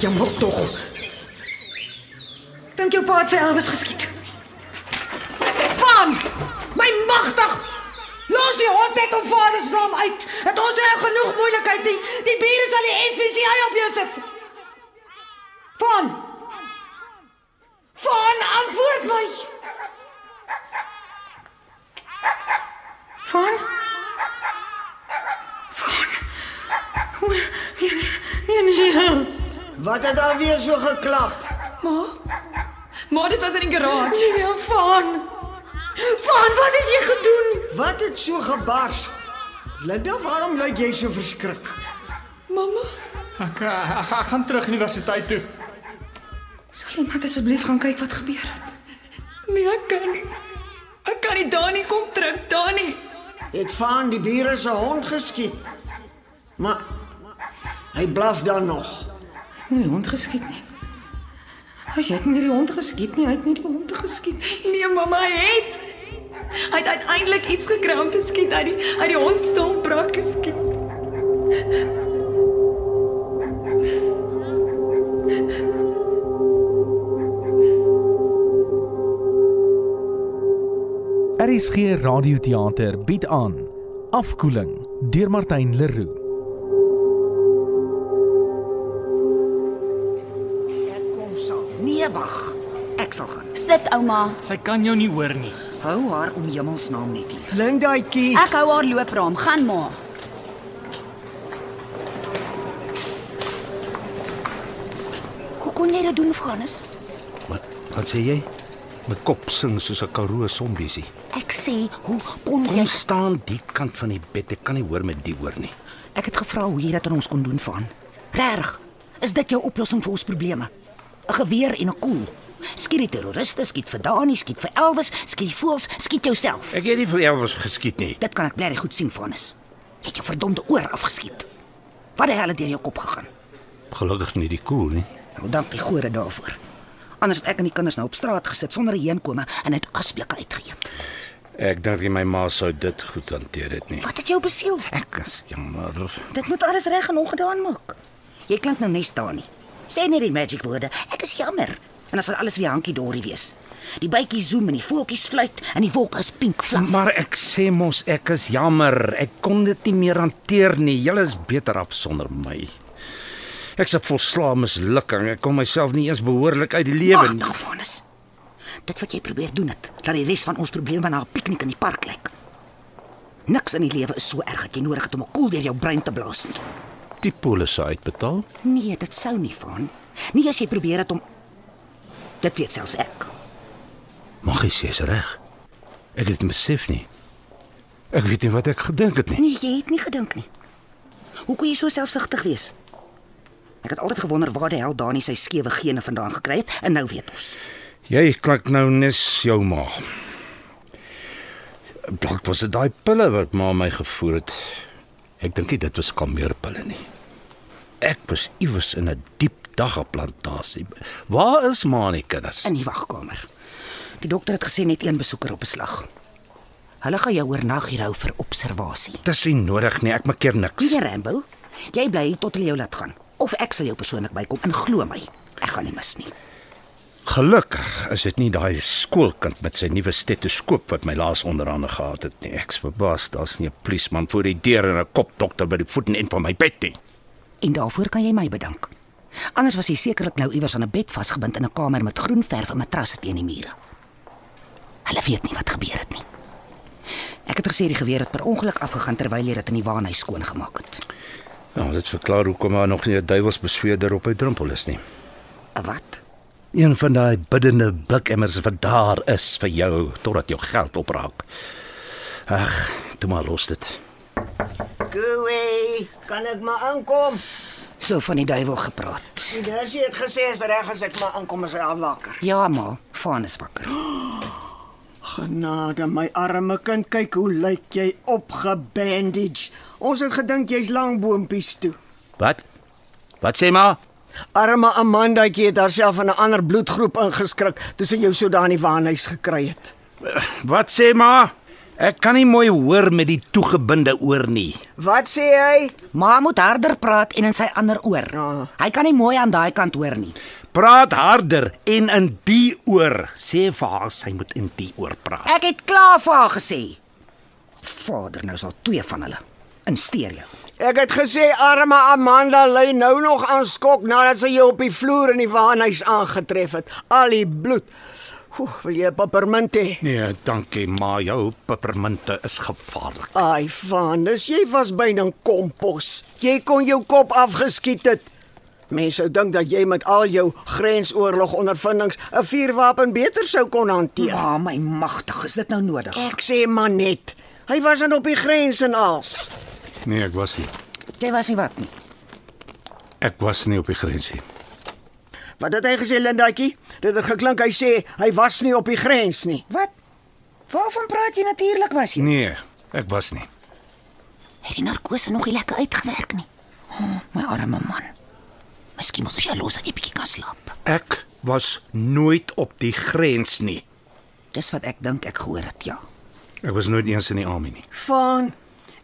Jammer tog. Dink jou pa het vir Elvis geskiet? Van! My magtig! Los die hond net om vader se naam uit. Het ons het genoeg moeilikheid. Die, die bure sal die SPCA op jou sit. Van! Van, antwoord my. Van? Van. Hoe? Nee, nee, nee. nee. Wat het daar weer so geklap? Ma? Maar dit was in die garage. Nee, nee, Van. Van, wat het jy gedoen? Wat het so gebars? Linda, waarom lyk jy so verskrik? Mamma, Ek, eh, ek, ek gaan terug universiteit toe. sal iemand asseblief gaan kyk wat gebeur het? Nee, ek kan nie. Ek kan nie Dani kom terug, Dani. Het Van die bure se hond geskiet? Maar hy blaf dan nog. Nie die hond geskiet nie. Hy het nie die hond geskiet nie, hy het nie die hond geskiet nie. Nee, mamma hy het. Hy het uiteindelik iets gekram te skiet uit die uit die hond stomp brak geskiet. RSG Radioteater bied aan Afkoeling deur Martin Leroux. Ek kom saam. Nee, wag. Ek sal gaan. Sit ouma. Sy kan jou nie hoor nie. Hou haar om hemelsnaam net hier. Lindaatjie, Ek hou haar loopraam. Gaan maar. Hoe kon jy dit doen, Franus? Wat wat sê jy? My kop sing soos 'n karoo sombiesie. Ek sê, hoe kon Kom jy? staan die kant van die bed. Ek kan nie hoor met die oor nie. Ek het gevra hoe jy dit aan ons kon doen, Van. Reg. Is dit jou oplossing vir ons probleme? 'n Geweer en 'n koel. Skiet die terroriste, skiet vir Dani, skiet vir Elvis, skiet die voëls, skiet jouself. Ek het nie vir Elvis geskiet nie. Dit kan ek bly goed sien, Vanus. Jy het jou verdomde oor afgeskiet. Wat die hel het deur jou kop gegaan? Gelukkig nie die koel nie. Nou dank die gode daarvoor. Anders het ek en die kinders nou op straat gesit sonder 'n heenkome en het asblikke uitgeëet. Ek dink nie my ma sou dit goed hanteer het nie. Wat het jou besiel? Ek is jammer. Dit moet alles reg en ongedaan maak. Jy klink nou net staan nie. Sê net die magic woorde. Ek is jammer. En dan sal alles weer hankie dorie wees. Die bytjies zoem en die voeltjies fluit en die wolke is pink vlam. Maar ek sê mos ek is jammer. Ek kon dit nie meer hanteer nie. Julle is beter af sonder my. Ek se volslae mislukking. Ek kon myself nie eens behoorlik uit die lewe nie. Magtig vonnis. Dit wat jy probeer doen het, laat die res van ons probleme na 'n piknik in die park lyk. Niks in die lewe is so erg dat jy nodig het om 'n koel deur jou brein te blaas nie. Die polisse uitbetaal. Nee, dit sou nie van. Nie as jy probeer het om Dit weet selfs ek. Mag jy sês reg. Ek het dit besef nie. Ek weet nie wat ek gedink het nie. Nee, jy het nie gedink nie. Hoe kon jy so selfsugtig wees? Ek het altyd gewonder waar die hel Dani sy skewe gene vandaan gekry het en nou weet ons. Jy klink nou nes jou ma. Blok was dit daai pille wat ma my gevoer het. Ek dink nie dit was kalmeerpille nie. Ek was iewers in 'n diep daggeplantasie. Waar is ma nie kinders? In die wagkamer. Die dokter het gesê net een besoeker op beslag. Hulle gaan jou oornag hier hou vir observasie. Dis nie nodig nie. Ek maak keer niks. Wie Rambo? Jy bly hier tot hulle jou laat gaan of ek sal jou persoonlik bykom en glo my, ek gaan nie mis nie. Gelukkig is dit nie daai skoolkind met sy nuwe stetoskoop wat my laas onderhande gehad het nie. Ek's verbaas daar's nie 'n polisieman voor die deur en 'n kopdokter by die voet en end van my bed nie. En daarvoor kan jy my bedank. Anders was jy sekerlik nou iewers aan 'n bed vasgebind in 'n kamer met groen verf en matrasse teen die mure. Hulle weet nie wat gebeur het nie. Ek het gesê die geweer het per ongeluk afgegaan terwyl jy dit in die waanhuis skoon gemaak het. Nou, dit verklaar hoekom daar nog nie 'n duiwelsbesweerder op hy drempel is nie. 'n Wat? Een van daai biddende blikemmers wat daar is vir jou totdat jou geld opraak. Ag, toe maar los dit. Gooey, kan ek maar inkom? So van die duiwel gepraat. Die nursie het gesê as reg as ek maar inkom as hy al wakker. Ja, ma, Van is wakker. Genade, my arme kind, kyk hoe lyk jy opgebandage. Ons het gedink jy's lang boontjies toe. Wat? Wat sê maar? Arme Amandaatjie het haarself in 'n ander bloedgroep ingeskrik toe sy jou so daar in die waanhuis gekry het. Wat sê maar? Ek kan nie mooi hoor met die toegebinde oor nie. Wat sê hy? Ma moet harder praat en in sy ander oor. Ja. Hy kan nie mooi aan daai kant hoor nie. Praat harder en in die oor. Sê vir haar sy moet in die oor praat. Ek het klaar vir haar gesê. Vader, nou is al twee van hulle in stereo. Ek het gesê arme Amanda lê nou nog aan skok nadat sy jou op die vloer in die waanhuis aangetref het. Al die bloed. Oef, wil jy 'n peppermint hê? Nee, dankie, maar jou pepperminte is gevaarlik. Ai, Vanus, jy was byna 'n kompos. Jy kon jou kop afgeskiet het. Mense sou dink dat jy met al jou grensoorlogondervindings 'n vuurwapen beter sou kon hanteer. Ja, my magtig, is dit nou nodig? Ek sê maar net. Hy was aan op die grens en als. Nee, ek was nie. Jy was nie wat nie. Ek was nie op die grens nie. Wat het hy gesê, Lindaatjie? Dit het geklink hy sê hy was nie op die grens nie. Wat? Waarvan praat jy natuurlik was jy? Nee, ek was nie. Het die narkose nog nie lekker uitgewerk nie. Oh, my arme man. Miskien moet ons jou los dat jy bietjie kan slaap. Ek was nooit op die grens nie. Dis wat ek dink ek gehoor het, ja. Ek was nooit eens in die army nie. Van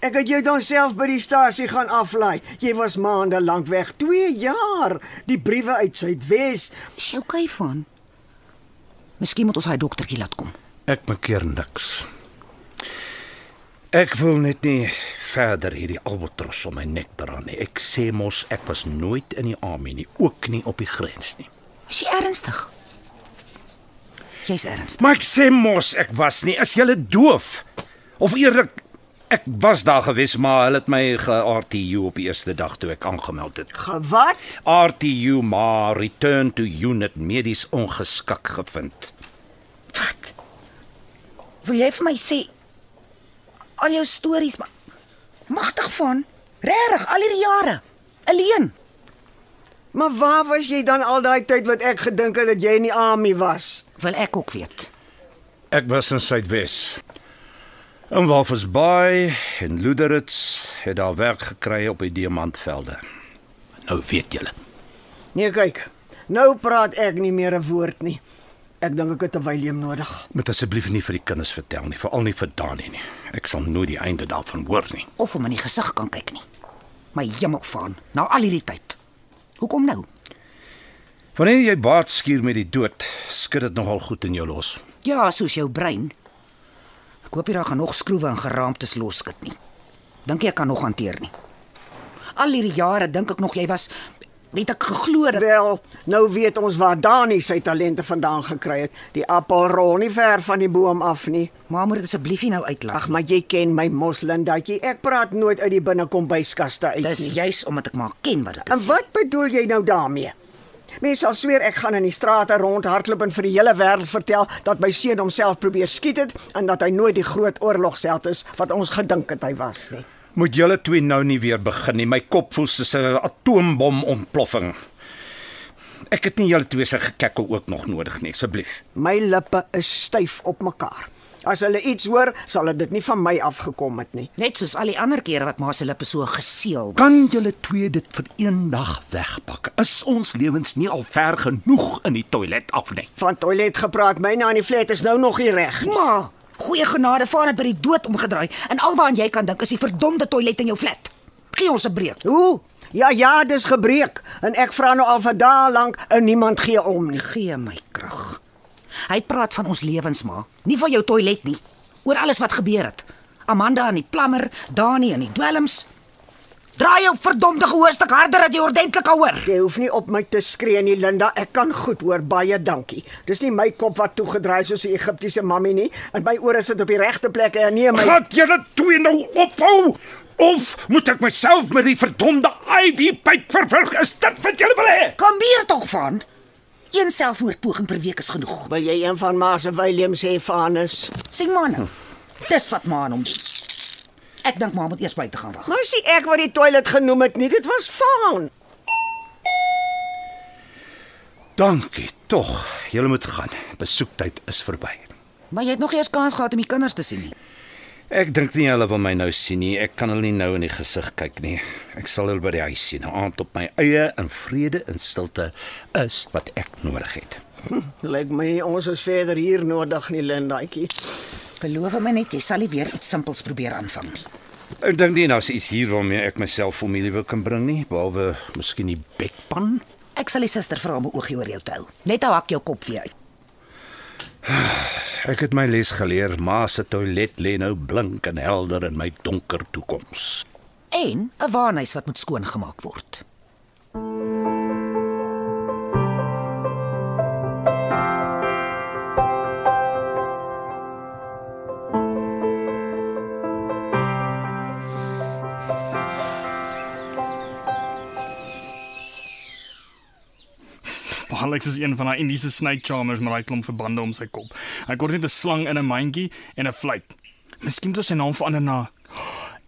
Ek het jou dan self by die stasie gaan aflaai. Jy was maande lank weg, 2 jaar. Die briewe uit Suidwes. Is jy okay van? Miskien moet ons hy doktertjie laat kom. Ek maak keer niks. Ek wil net nie verder hierdie albatros om my nek dra nie. Ek sê mos ek was nooit in die army nie, ook nie op die grens nie. Is jy ernstig? Jy's ernstig. Maar ek sê mos ek was nie. Is jy doof? Of eerlik, ek was daar gewees, maar hulle het my ge-RTU op die eerste dag toe ek aangemeld het. Gewat? RTU maar return to unit medies ongeskik gevind. Wat? Wil jy vir my sê al jou stories maar magtig van? Regtig al hierdie jare alleen. Maar waar was jy dan al daai tyd wat ek gedink het dat jy in die army was? Wil ek ook weet. Ek was in Suidwes. In Walvisbaai en Luderitz het daar werk gekry op die diamantvelde. Nou weet julle. Nee, kyk. Nou praat ek nie meer 'n woord nie. Ek dink ek het 'n wylium nodig. Moet asseblief nie vir die kinders vertel nie, veral nie vir Dani nie. Ek sal nooit die einde daarvan hoor nie. of hom in die gesig kan kyk nie. My hemelvaan, na al hierdie tyd. Hoekom nou? Wanneer jy baat skuur met die dood, skud dit nogal goed in jou los. Ja, soos jou brein. Ek hoop jy daar gaan nog skroewe en geraamtes loskit nie. Dink jy ek kan nog hanteer nie? Al hierdie jare dink ek nog jy was weet ek geglo dat Wel, nou weet ons waar Dani sy talente vandaan gekry het. Die appel rol nie ver van die boom af nie. maar moet dit asseblief nie nou uitlag. Ag, maar jy ken my moslindatjie. Ek praat nooit uit die binnekombuiskaste uit Dis nie. juis omdat ek maar ken wat dit En is. wat bedoel jy nou daarmee? Mense sal sweer ek gaan in die strate rondhardloop en vir die hele wêreld vertel dat my seun homself probeer skiet het en dat hy nooit die groot oorlogsheld is wat ons gedink het hy was nie. Moet julle twee nou nie weer begin nie. My kop voel soos 'n atoombom ontploffing. Ek het nie julle twee se gekekkel ook nog nodig nie, asseblief. My lippe is styf op mekaar. As hulle iets hoor, sal hulle dit nie van my afgekom het nie. Net soos al die ander kere wat ma se lippe so geseël was. Kan julle twee dit vir eendag wegpak? Is ons lewens nie al ver genoeg in die toilet af nie? Van toilet gepraat, my na in die flat is nou nog nie reg nie. ma goeie genade vaar dit by die dood omgedraai en alwaaraan jy kan dink is die verdomde toilet in jou flat. Gee ons 'n breek. Hoe? Ja ja, dis gebreek en ek vra nou al vir dae lank en niemand gee om nie. Gee my krag. Hy praat van ons lewens maar, nie van jou toilet nie. Oor alles wat gebeur het. Amanda en die plammer, Dani en die dwelms. Draai jou verdomde gehoorstuk harder dat jy ordentlik kan hoor. Jy hoef nie op my te skree nie, Linda. Ek kan goed hoor. Baie dankie. Dis nie my kop wat toegedraai is soos 'n Egiptiese mammy nie. En my ore sit op die regte plek en nee my Gaan julle twee nou ophou? Of moet ek myself met die verdomde IV pyp verwrig? Is dit wat julle wil hê? Kom hier tog van. Een selfmoordpoging per week is genoeg. Wil jy een van ma se Williams hê, Vanus? Sien maar nou. Dis wat ma aan hom doen. Ek dink ma moet eers buite gaan wag. Nou sien ek wat die toilet genoem het nie. Dit was Van. Dankie tog. Julle moet gaan. Besoektyd is verby. Maar jy het nog eers kans gehad om die kinders te sien nie. Ek dink nie hulle wil my nou sien nie. Ek kan hulle nie nou in die gesig kyk nie. Ek sal hulle by die huis sien, 'n aand op my eie in vrede en stilte is wat ek nodig het. Lyk my ons is verder hier nodig nie, Lindaatjie. Beloof my net jy sal nie weer iets simpels probeer aanvang nie. Ek dink nie daar's iets hier waarmee ek myself familie wil kan bring nie, behalwe miskien die bekpan. Ek sal die suster vra om 'n oogie oor jou te hou. Net hou hak jou kop weer uit. Ek het my les geleer, ma se toilet lê nou blink en helder in my donker toekoms. En 'n waanhuis wat moet skoongemaak word. Alex is een van daai Indiese snake charmers met daai klomp verbande om sy kop. Hy kort net 'n slang in 'n mandjie en 'n fluit. Miskien moet ons sy naam verander na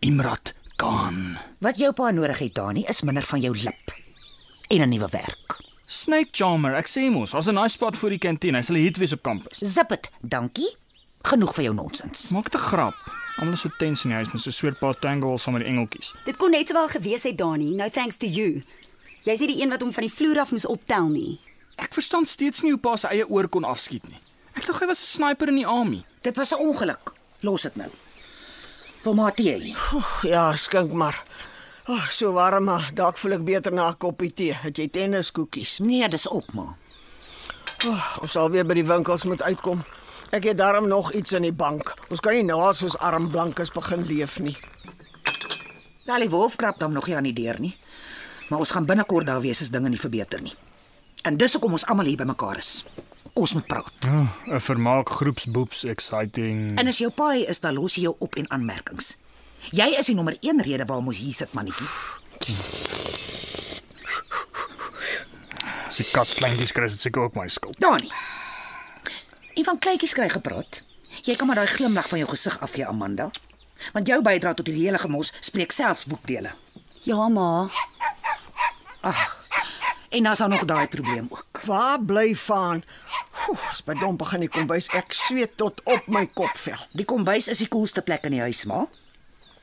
Imrat Khan. Wat jou pa nodig het, Dani, is minder van jou lip en 'n nuwe werk. Snake charmer, ek sê mos, daar's 'n nice spot voor die kantien. Hy sal 'n hit wees op kampus. Zip dit, dankie. Genoeg van jou nonsens. Maak 'n grap. Almal is so tens in die huis met so 'n soort paar tangle saam met die engeltjies. Dit kon net sowel gewees het, Dani. No thanks to you. Jy's nie die een wat hom van die vloer af moes optel nie. Ek verstaan steeds nie hoe pa sy eie oor kon afskiet nie. Ek dink hy was 'n sniper in die army. Dit was 'n ongeluk. Los dit nou. Wil maar tee hê. Ja, skink maar. Ag, oh, so warm, maar dalk voel ek beter na 'n koppie tee. Het jy tenniskoekies? Nee, dis op maar. Oh, ons sal weer by die winkels moet uitkom. Ek het daarom nog iets in die bank. Ons kan nie nou al soos arm blankes begin leef nie. Nou die wolf krap dan nog nie aan die deur nie. Maar ons gaan binnekort daar wees as dinge nie verbeter nie. En dis hoekom ons almal hier bymekaar is. Ons moet praat. Oh, 'n vermaak groepsboeps exciting. En as jou pa hier is, dan los jy jou op en aanmerkings. Jy is die nommer 1 rede waarom ons hier sit, mannetjie. As die kat kleintjies kry, is dit seker ook my skuld. Dani. Ivan Kleintjies kry gepraat. Jy kan maar daai glimlag van jou gesig af gee, Amanda. Want jou bydrae tot hierdie hele gemos spreek selfs boekdele. Ja, ma. Ah. En daar's dan nog daai probleem ook. Waar bly Vaan? Oef, as by dom begin die kombuis. Ek sweet tot op my kopvel. Die kombuis is die koelste plek in die huis, ma.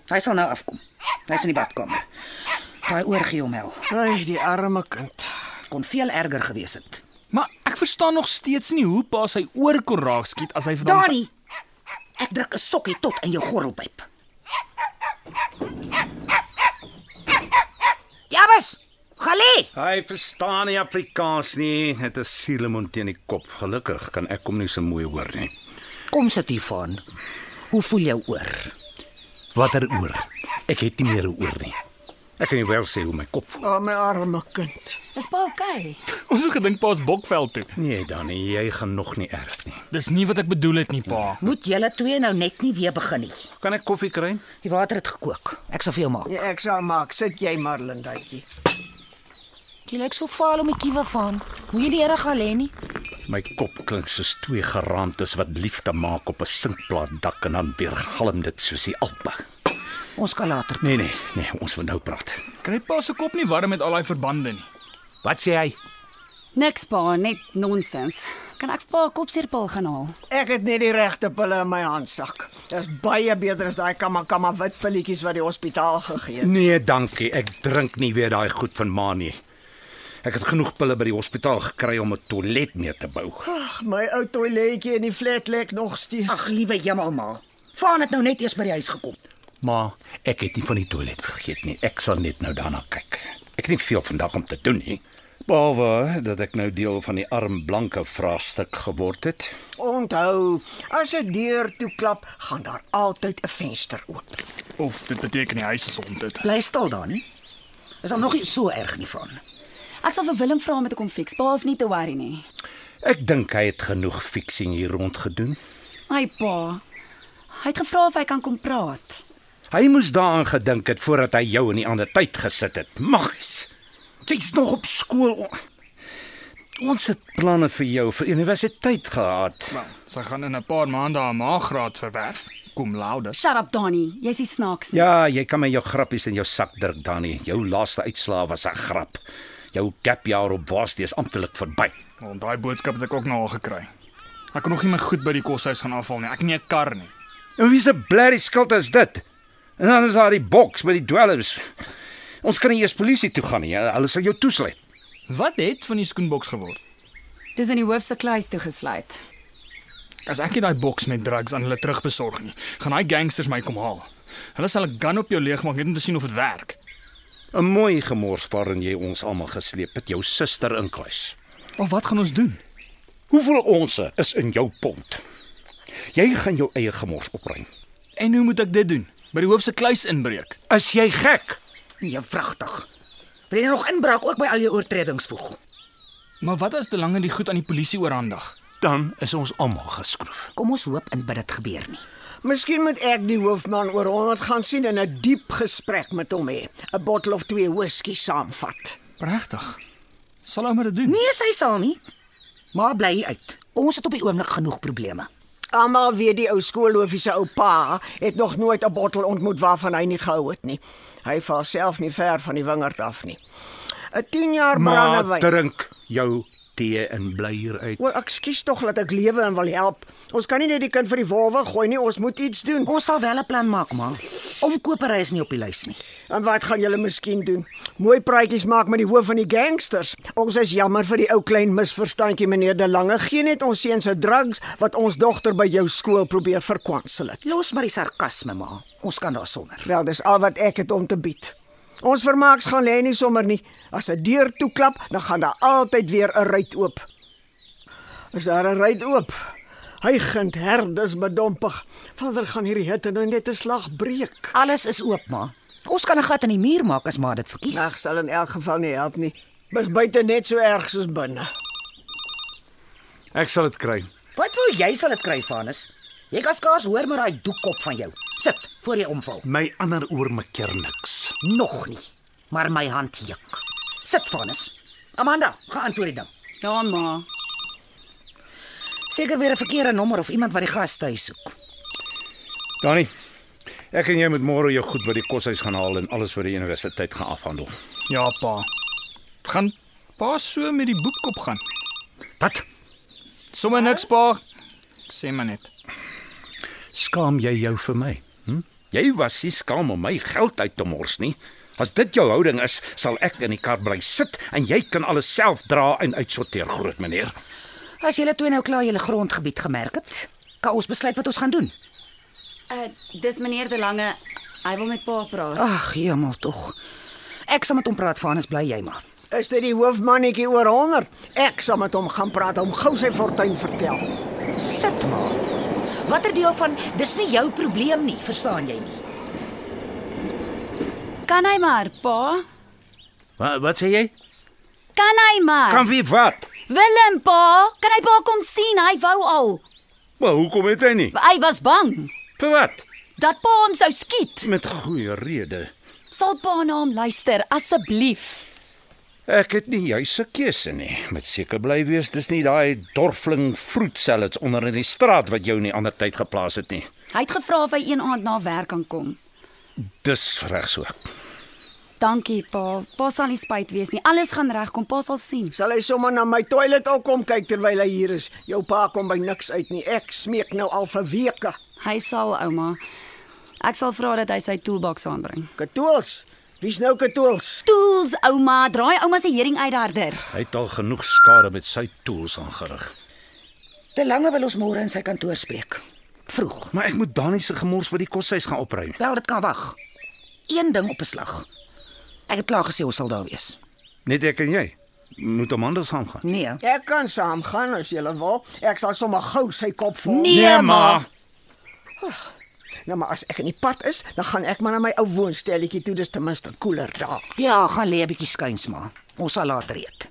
Hy sal nou afkom. Hy's in die badkamer. Daai oorgie hom hel. Ai, die arme kind. Kon veel erger gewees het. Maar ek verstaan nog steeds nie hoe pa sy oor kon raak skiet as hy verdam Dani. Ek druk 'n sokkie tot in jou gordelpyp. Jabes, galie. Hy verstaan nie Afrikaans nie. Dit is sielemoen teen die kop. Gelukkig kan ek hom nie so mooi hoor nie. Kom sit hier van. Hoe voel jou oor? Watter oor? Ek het nie meer 'n oor nie. Ek kan nie wel sê hoe my kop voel. O, oh, my arme kind. Is pa okay? Ons het gedink pa's Bokveld toe. Nee, Danny, jy gaan nog nie erf nie. Ja. Dis nie wat ek bedoel het nie, pa. Moet julle twee nou net nie weer begin nie. Kan ek koffie kry? Die water het gekook. Ek sal vir jou maak. Ja, ek sal maak. Sit jy maar, Lindaatjie. Jy lyk so vaal om die kiewe van. Moet jy die Here gaan lê nie? My kop klink soos twee geraamtes wat liefde maak op 'n sinkplaat dak en dan weer galm dit soos die Alpe. Ons kan later. Nee, nee, nee, ons moet nou praat. Kry pa se kop nie warm met al daai verbande nie. Wat sê hy? Niks pa, net nonsens. Kan ek vir pa 'n kopseerpil gaan haal? Ek het net die regte pille in my handsak. Dis baie beter as daai kamakamma wit pilletjies wat die hospitaal gegee het. Nee, dankie. Ek drink nie weer daai goed van ma nie. Ek het genoeg pille by die hospitaal gekry om 'n toilet mee te bou. Ag, my ou toiletjie in die flat lek nog steeds. Ag, liewe jemal ma. Vaan het nou net eers by die huis gekom. Maar ek het nie van die toilet vergeet nie. Ek sal net nou daarna kyk. Ek het nie veel vandag om te doen nie. Behalwe dat ek nou deel van die arm blanke vraestuk geword het. Onthou, as 'n deur toe klap, gaan daar altyd 'n venster oop. Of dit beteken die huis is ontdit. Bly stil daar nie. Is dan nog nie so erg nie van. Ek sal vir Willem vra om dit te kom fix. Pa hoef nie te worry nie. Ek dink hy het genoeg fixing hier rond gedoen. Ai pa. Hy het gevra of hy kan kom praat. Hy moes daaraan gedink het voordat hy jou in die ander tyd gesit het. Maggies. Jy's nog op skool. Ons het planne vir jou vir universiteit gehad. Wel, sy gaan in 'n paar maande haar maaggraad verwerf. Kom louder. Shut up, Donnie. Jy's die snaaks. nie. Ja, jy kan my jou grappies in jou sak druk, Danny. Jou laaste uitslaa was 'n grap. Jou gapjaar op Waarstees is amptelik verby. Want Nou, daai boodskap het ek ook na haar gekry. Ek kon nog nie my goed by die koshuis gaan afhaal nie. Ek het nie 'n kar nie. En wie se blerrie skuld is dit? En dan is daar die boks met die dwelms. Ons kan nie eers polisie toe gaan nie. Hulle sal jou toesluit. Wat het van die skoenboks geword? Dis in die hoofse kluis toe gesluit. As ek nie daai boks met drugs aan hulle terugbesorg nie, gaan daai gangsters my kom haal. Hulle sal 'n gun op jou leegmaak net om te sien of dit werk. 'n Mooi gemors waarin jy ons almal gesleep het, jou suster inkluis. Of wat gaan ons doen? Hoeveel onsse is in jou pond? Jy gaan jou eie gemors opruim. En hoe moet ek dit doen? By die hoof se kluis inbreek. Is jy gek? Nee, vragtig. Wil jy nog inbraak ook by al jou oortredings voeg? Maar wat as te lank in die goed aan die polisie oorhandig? Dan is ons almal geskroef. Kom ons hoop en bid dit gebeur nie. Miskien moet ek die hoofman oor 100 gaan sien en 'n diep gesprek met hom hê. 'n Bottel of twee whisky saamvat. Regtig? Sal hom dit doen? Nee, sy sal nie. Maar bly hy uit. Ons het op die oomblik genoeg probleme. Almal weet die ou skoolhoofie se oupa het nog nooit 'n bottel ontmoet waarvan hy nie gehou het nie. Hy val self nie ver van die wingerd af nie. 'n 10 jaar Maar brandewyn. drink jou tee en bly hier uit. Wel, ek skuis tog dat ek lewe en wil help. Ons kan nie net die kind vir die wolwe gooi nie, ons moet iets doen. Ons sal wel 'n plan maak, maar omkopery is nie op die lys nie. En wat gaan julle miskien doen? Mooi praatjies maak met die hoof van die gangsters. Ons is jammer vir die ou klein misverstandjie meneer De Lange. Geen net ons seun se drugs wat ons dogter by jou skool probeer verkwansel het. Los maar die sarkasme, ma. Ons kan daarsonder. Wel, dis al wat ek het om te bied. Ons vermaaks gaan lê nie sommer nie. As 'n deur toeklap, dan gaan daar altyd weer 'n ruit oop. Is daar 'n ruit oop? Hygend herdes bedompig. Vader gaan hierdie hitte nou net 'n slag breek. Alles is oop, ma. Ons kan 'n gat in die muur maak as ma dit verkies. Nag sal in elk geval nie help nie. Dis buite net so erg soos binne. Ek sal dit kry. Wat wil jy sal dit kry, Vanus? Jy kan skaars hoor met daai doekkop van jou. Sit voor jy omval. My ander oor my keer niks. Nog nie, maar my hand juk. Sit, Vanus. Amanda, gaan antwoord die ding. Ja, ma. Seker weer 'n verkeerde nommer of iemand wat die gastehuis soek. Danie. Ek en jy moet môre jou goed by die koshuis gaan haal en alles by die universiteit gaan afhandel. Ja, pa. Gaan pa so met die boek op gaan. Wat? Sommige niks, pa. Ek Sê maar net. Skaam jy jou vir my? Hm? Jy was nie skaam om my geld uit te mors nie. As dit jou houding is, sal ek in die kar bly sit en jy kan alles self dra en uitsorteer, groot meneer. As julle twee nou klaar julle grondgebied gemerk het, kan ons besluit wat ons gaan doen. Uh dis meneer De Lange. Hy wil met pa praat. Ag, hemel tog. Ek sal met hom praat, Vanus, bly jy maar. Is dit die hoofmannetjie oor 100? Ek sal met hom gaan praat om gou sy fortuin vertel. Sit maar. Watter deel van dis nie jou probleem nie, verstaan jy nie? Kan hy maar, pa? Wat wat sê jy? Kan hy maar? Kan wie wat? Willem, pa, kan hy pa kom sien? Hy wou al. Maar hoekom het hy nie? Hy was bang Vir wat? dat pa hom sou skiet. Met goeie rede. Sal pa na hom luister asseblief? Ek het nie juis 'n keuse nie. Met seker bly wees, dis nie daai dorfling vroetselits onder in die straat wat jou in die ander tyd geplaas het nie. Hy het gevra of hy een aand na werk kan kom. Dis reg so. Dankie, pa. Pa sal nie spyt wees nie. Alles gaan regkom. Pa sal sien. Sal hy sommer na my toilet ook kom kyk terwyl hy hier is? Jou pa kom by niks uit nie. Ek smeek nou al vir weke. Hy sal, ouma. Ek sal vra dat hy sy toolbox aanbring. Katoels. Wie's nou Katoels? Tools, ouma. Draai ouma se hering uit harder. Hy het al genoeg skade met sy tools aangerig. Te lange wil ons môre in sy kantoor spreek. Vroeg. Maar ek moet Dani se gemors by die koshuis gaan opruim. Wel, dit kan wag. Een ding op 'n slag. Ek het klaar gesê ons sal daar wees. Net ek en jy. Moet Amanda saam gaan. Nee. Ek kan saamgaan as jy wil. Ek sal sommer gou sy kop vol. Nee, ma. Nou maar as ek in die pad is, dan gaan ek maar na my ou woonstelletjie toe, dis ten minste koeler daar. Ja, gaan lê 'n bietjie skuins maar. Ons sal later eet.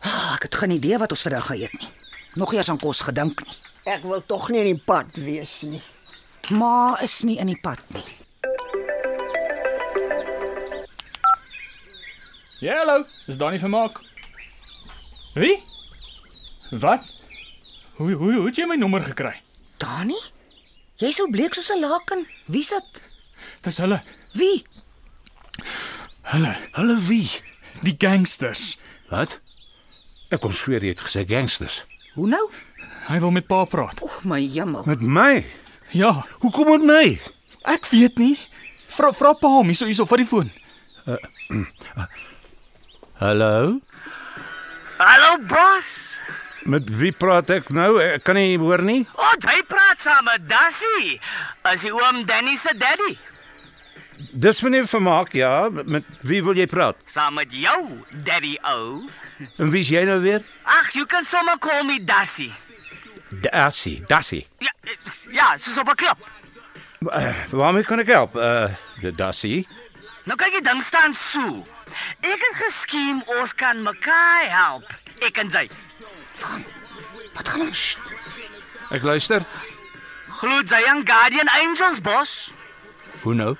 Ah, Ek het geen idee wat ons vandag gaan eet nie. Nog eers aan kos gedink nie. Ek wil tog nie in die pad wees nie. Ma is nie in die pad nie. Ja, hallo. Dis Dani Vermaak. Wie? Wat? Hoe hoe hoe het jy my nommer gekry? Dani? Jy's so bleek soos 'n laken. Wie's dit? Dis hulle, Wie? Hulle wie? die gangsters. Wat? Ek kon sweer jy het gesê gangsters. Hoe nou? Hy wil met pa praat. O, my hemel. Met my? Ja, Hoekom met my? ek weet nie. Vra vra pa hom hierso hierso vat die foon. Eh, hm, Hallo? Hallo Bas. Met wie praat ek nou? Ek kan nie hoor nie. Ont hy praat saam met Dassie, as die oom Danny se daddy, Dis meneer Vermaak, ja, met wie wil jy praat? saam met jou daddy ou. En wie's jy nou weer? Ag, you can sommer call me Dassie. Dassie, Dassie. Ja, eh, ja, soos op 'n klip. Uh, waarmee kan ek help? Uh, Dassie. Nou kyk die ding staan so. Ek het geskiem ons kan mekaar help. Ek en sy. Wat gaan ons? Sst, Ek luister. Glo jy aan Guardian Angels bos? Hoe nou?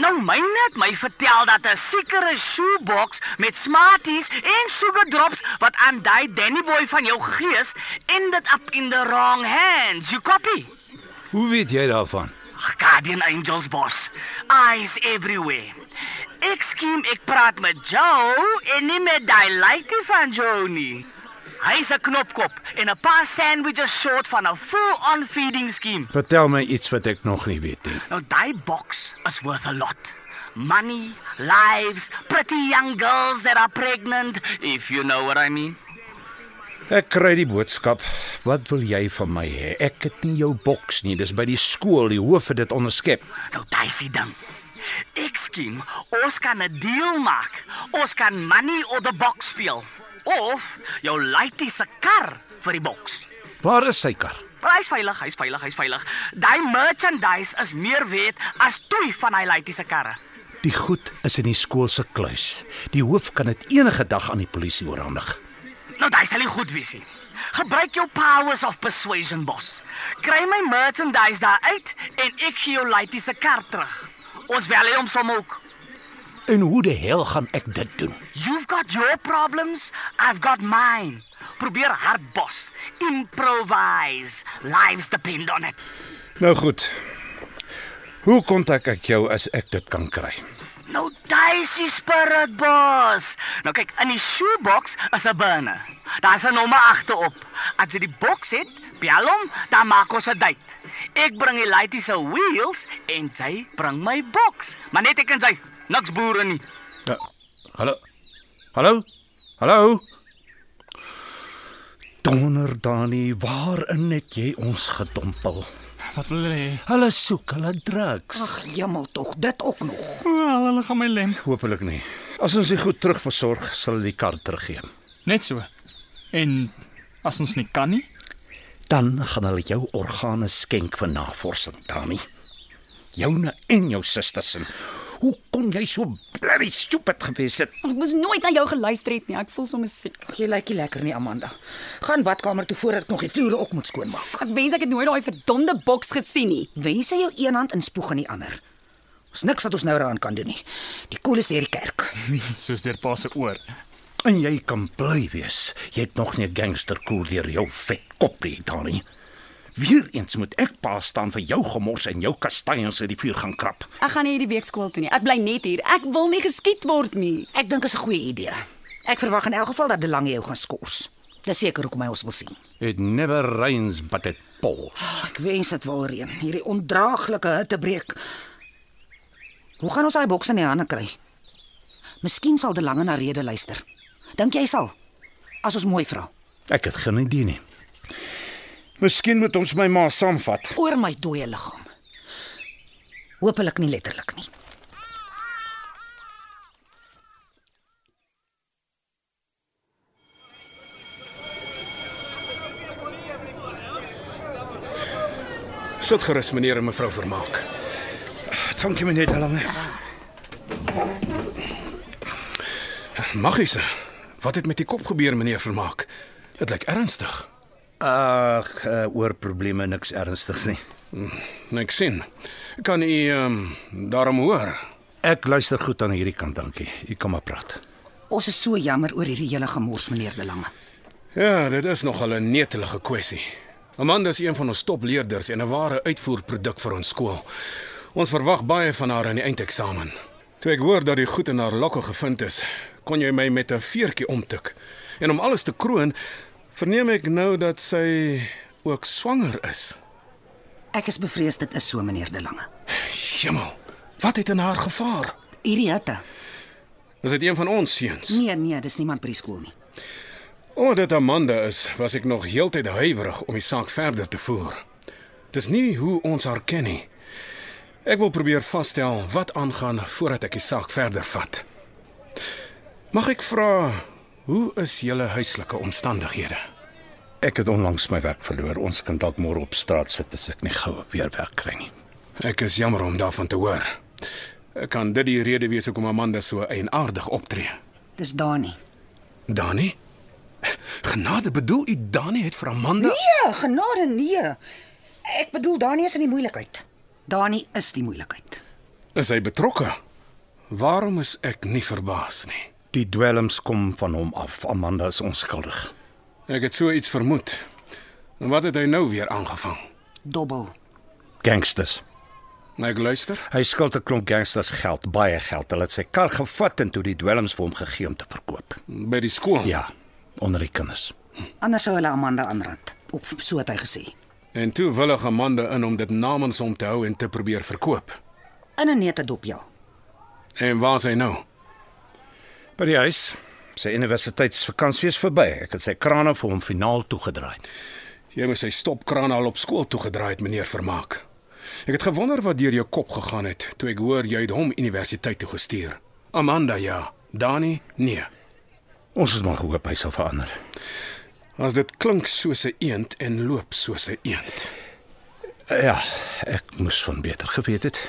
Nou my net my vertel dat 'n sekere shoebox met smarties en sugar drops wat aan daai Danny boy van jou gees ended up in the wrong hands. You copy? Hoe weet jy daarvan? Ag, Guardian Angels bos. Eyes everywhere. Ek skiem ek praat met Joe en nie met daai lykie van Joe nie. Hy's 'n knopkop en 'n paar sandwiches short van 'n full-on feeding scheme. Vertel my iets wat ek nog nie weet nie. Now, thy box is worth a lot. Money, lives, pretty young girls that are pregnant, if you know what I mean. Ek kry die boodskap. Wat wil jy van my hê? Ek het nie jou boks nie. Dis by die skool. Die hoof het dit onderskep. Nou, daisy ding. Ek skiem, ons kan 'n deal maak. Ons kan money or the box speel. Of jou laaitie se kar vir die boks. Waar is sy kar? Maar hy's veilig, hy's veilig, hy's veilig. Daai merchandise is meer werd as twee van hy laaitie se karre. Die goed is in die skool se kluis. Die hoof kan dit enige dag aan die polisie oorhandig. Nou daai sal nie goed wees nie. Gebruik jou powers of persuasion, bos. Kry my merchandise daar uit en ek gee jou laaitie se kaart terug. Ons wil hê hom sommer ook. En hoe die hel gaan ek dit doen? You've got your problems, I've got mine. Probeer hard, bos. Improvise. Lives depend on it. Nou goed. Hoe kontak ek jou as ek dit kan kry? Nou daisy spirit, bos. Nou kyk, in die shoebox is 'n burner. Daar's 'n nommer agterop. As jy die boks het, bel hom, dan maak ons 'n date. Ek bring die laaitie se wheels en jy bring my boks. Maar net ek en jy, niks boere nie. Ja, Hallo. Hallo. Hallo. Donder Dani, waarin het jy ons gedompel? Wat wil hulle hê? Hulle soek hulle drugs. Ag, jemmel tog, dit ook nog. Wel, hulle gaan my lem. Hoopelik nie. As ons dit goed terugversorg, sal hulle die kar teruggee. Net so. En as ons nie kan nie, Dan gaan hulle jou organe skenk vir navorsing, Dani. Joune en jou suster se. Hoe kon jy so bloody stupid gewees het? Ek moes nooit aan jou geluister het nie. Ek voel sommer siek. Jy lyk nie lekker nie, Amanda. Gaan badkamer toe voordat ek nog die vloere ook moet skoonmaak. Ek wens ek het nooit daai verdomde boks gesien nie. Wens jy jou een hand inspoeg in die ander. Ons niks wat ons nou daaraan kan doen nie. Die koel is deur die kerk. soos deur pa se oor. En jy kan bly wees. Jy het nog nie 'n gangster cool deur jou vet kop nie, Dani. Weereens moet ek pa staan vir jou gemors en jou kastanjes uit die vuur gaan krap. Ek gaan nie hierdie week skool toe nie. Ek bly net hier. Ek wil nie geskiet word nie. Ek dink is 'n goeie idee. Ek verwag in elk geval dat Delange jou gaan skors. Dis seker hoekom hy ons wil sien. It never rains but it pours. Ek wens dit wil reën. Hierdie ondraaglike hitte breek. Hoe gaan ons daai boks in die hande kry? Miskien sal Delange na rede luister. Dink jy sal? As ons mooi vra. Ek het geen idee nie. Miskien moet ons my ma saamvat. oor my dooie liggaam. Hoopelik nie letterlik nie. Sit gerus meneer en mevrou Vermaak. Dankie meneer Delange. Magiese. Wat het met die kop gebeur meneer Vermaak? Dit lyk ernstig. Ag, uh, oor probleme niks ernstigs nie. Nou ek sien. Kan u ehm um, daarom hoor? Ek luister goed aan hierdie kant, dankie. U kan maar praat. Ons is so jammer oor hierdie hele gemors, meneer De Lange. Ja, dit is nogal 'n netelige kwessie. Amanda is een van ons topleerders en 'n ware uitvoerproduk vir ons skool. Ons verwag baie van haar in die eindeksamen. Toe ek hoor dat die goed in haar lokke gevind is, kon jy my met 'n veertjie omtik. En om alles te kroon, verneem ek nou dat sy ook swanger is. Ek is bevrees dit is so, meneer De Lange. Hemel, wat het in haar gevaar? Hierdie hitte. Is dit een van ons seuns? Nee, nee, dis niemand by die skool nie. Omdat dit Amanda is, was ek nog heeltyd huiwerig om die saak verder te voer. Dis nie hoe ons haar ken nie. Ek wil probeer vasstel wat aangaan voordat ek die saak verder vat. Mag ek vra, hoe is julle huislike omstandighede? Ek het onlangs my werk verloor. Ons kan dalk môre op straat sit as ek nie gou weer werk kry nie. Ek is jammer om daarvan te hoor. Kan dit die rede wees hoekom Amanda so eienaardig optree? Dis Dani. Dani? Genade, bedoel u Dani het vir Amanda Nee, genade nee. Ek bedoel Dani is in die moeilikheid. Dani is die moeilikheid. Is hy betrokke? Waarom is ek nie verbaas nie? Die dwelms kom van hom af. Amanda is onskuldig. Ek het so iets vermoed. En wat het hy nou weer aangevang? Dobbel. Gangsters. Nou, Ek luister. Hy skuld 'n klomp gangsters geld, baie geld. Hulle het sy kar gevat en toe die dwelms vir hom gegee om te verkoop. By die skool. Ja, onder die kinders. Anders sou hulle Amanda aanrand. Of so het hy gesê. En toe willig Amanda in om dit namens hom te hou en te probeer verkoop. In 'n netedop ja. En waar is hy nou? By die huis. Sy universiteitsvakansie is verby. Ek het sy krane vir hom finaal toegedraai. Jy moes sy stopkraan al op skool toegedraai het, meneer Vermaak. Ek het gewonder wat deur jou kop gegaan het toe ek hoor jy het hom universiteit toe gestuur. Amanda ja, Dani nee. Ons het maar gehoop hy sal verander. As dit klink soos 'n eend en loop soos 'n eend. Ja, ek moes van beter geweet het.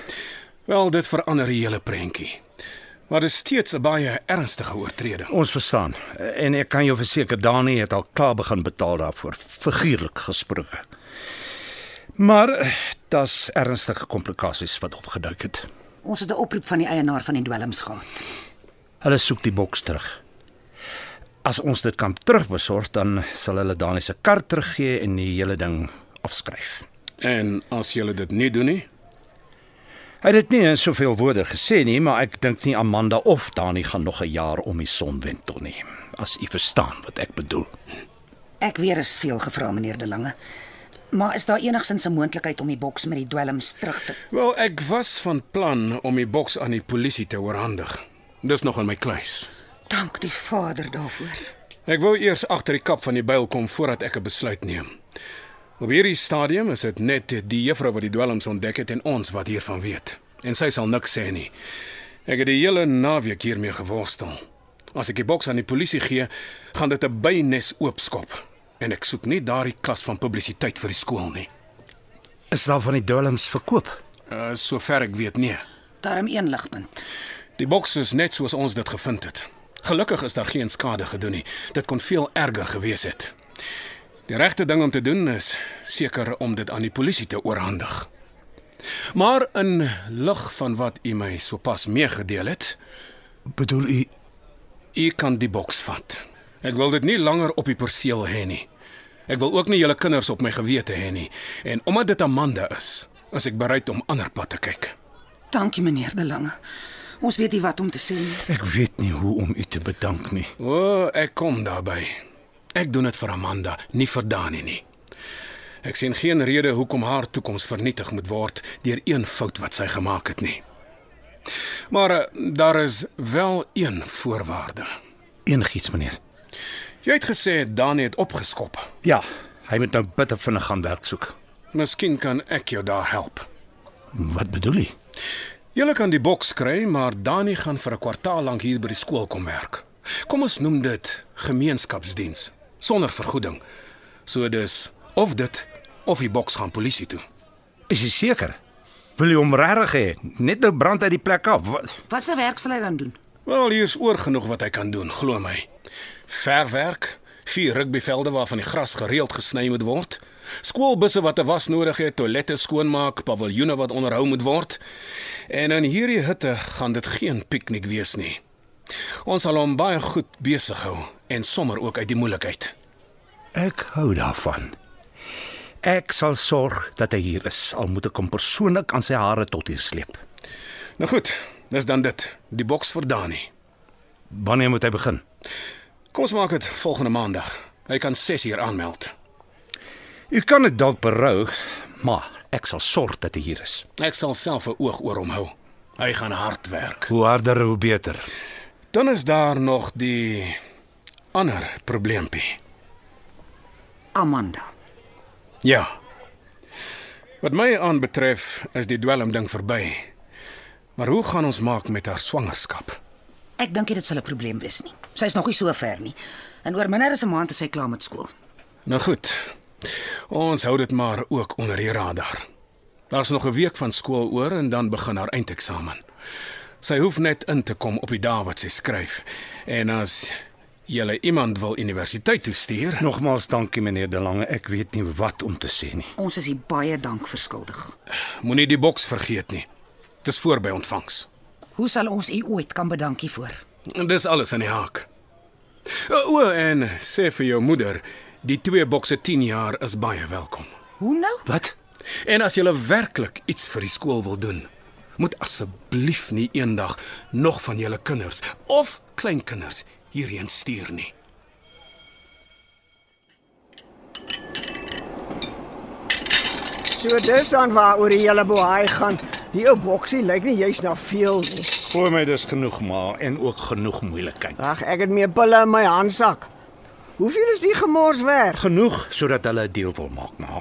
Wel, dit verander die hele prentjie. Maar dit is steeds 'n baie ernstige oortreding. Ons verstaan. En ek kan jou verseker Dani het al klaar begin betaal daarvoor, figuurlik gespronge. Maar eh, daar's ernstige komplikasies wat opgeduik het. Ons het 'n oproep van die eienaar van die dwelms gehad. Hulle soek die boks terug. As ons dit kan terugbesorg, dan sal hulle Dani se kar teruggee en die hele ding afskryf. En as jy dit nie doen nie, Hy het dit nie in soveel woorde gesê nie, maar ek dink nie Amanda of Dani gaan nog 'n jaar om die son wentel nie. As u verstaan wat ek bedoel. Ek weer is veel gevra meneer De Lange. Maar is daar enigsins 'n moontlikheid om die boks met die dwelms terug te wel ek was van plan om die boks aan die polisie te oorhandig. Dis nog in my kluis. Dank die Vader daarvoor. Ek wou eers agter die kap van die byl kom voordat ek 'n besluit neem. Op hierdie stadium is dit net die juffrou wat die dwelms ontdek het en ons wat hiervan weet. En sy sal niks sê nie. Ek het die hele naweek hiermee geworstel. As ek die boks aan die polisie gee, gaan dit 'n bynes oopskop. En ek soek nie daardie klas van publisiteit vir die skool nie. Is daar van die dwelms verkoop? Uh, sover ek weet nee. Daarom een ligpunt. Die boks is net soos ons dit gevind het. Gelukkig is daar geen skade gedoen nie. Dit kon veel erger gewees het. Die regte ding om te doen is seker om dit aan die polisie te oorhandig. Maar in lig van wat u my sopas meegedeel het, bedoel u u kan die boks vat. Ek wil dit nie langer op die perseel hê nie. Ek wil ook nie julle kinders op my gewete hê nie. En omdat dit Amanda is, is ek bereid om ander pad te kyk. Dankie meneer De Lange. Ons weet nie wat om te sê nie. Ek weet nie hoe om u te bedank nie. O, oh, ek kom daarby. Ek doen dit vir Amanda, nie vir Dani nie. Ek sien geen rede hoekom haar toekoms vernietig moet word deur een fout wat sy gemaak het nie. Maar eh, daar is wel een voorwaarde. Enigiets meneer. Jy het gesê Dani het opgeskop. Ja, hy moet nou bitter vinnig gaan werk soek. Miskien kan ek jou daar help. Wat bedoel u? Julle kan die boks kry, maar Dani gaan vir 'n kwartaal lank hier by die skool kom werk. Kom ons noem dit gemeenskapsdiens sonder vergoeding. So dis of dit of die boks gaan polisie toe. Is u seker? Wil u hom regtig hê? Net nou brand uit die plek af. Wat? Wat se werk sal hy dan doen? Wel, hier is oor genoeg wat hy kan doen, glo my. Verwerk, vier rugbyvelde waarvan die gras gereeld gesny moet word, skoolbusse wat 'n was nodig het, toilette skoonmaak, paviljoene wat onderhou moet word. En in hierdie hitte gaan dit geen piknik wees nie. Ons sal hom baie goed besig hou en sommer ook uit die moeilikheid. Ek hou daarvan. Ek sal sorg dat hy hier is. Al moet ek hom persoonlik aan sy hare tot hier sleep. Nou goed, dis dan dit, die boks vir Dani. Wanneer moet hy begin? Kom ons maak dit volgende maandag. Hy kan 6 uur aanmeld. U kan dit dalk berou, maar ek sal sorg dat hy hier is. Ek sal self 'n oog oor hom hou. Hy gaan hard werk. Hoe harder hoe beter. Dan is daar nog die ander probleempie. Amanda. Ja. Wat my aanbetref, is die dwelmding verby. Maar hoe gaan ons maak met haar swangerskap? Ek dink nie dit sal 'n probleem wees nie. Sy is nog nie so ver nie. En oor minder as 'n maand is sy klaar met skool. Nou goed. Ons hou dit maar ook onder die radar. Daar's nog 'n week van skool oor en dan begin haar eindeksamen. Sy hoef net in te kom op die dae wat sy skryf. En as jy iemand wil universiteit toe stuur, Nogmaals dankie meneer De Lange. Ek weet nie wat om te sê nie. Ons is hier baie dank verskuldig. moenie die boks vergeet nie. Dis voor by ontvangs. Hoe sal ons u ooit kan bedankie voor? En Dis alles aan die haak. O, o, en sê vir jou moeder, die twee bokse 10 jaar is baie welkom. Hoe nou? Wat? En as jy werklik iets vir die skool wil doen, moet asseblief nie eendag nog van julle kinders of kleinkinders hierheen stuur nie. So dis dan waaroor die hele boei gaan. Die ou boksie lyk nie jy's na veel nie. Glo my dis genoeg maar en ook genoeg moeilikheid. Ag, ek het meer pille in my handsak. Hoeveel is die gemors werd? Genoeg sodat hulle 'n deal wil maak, ma.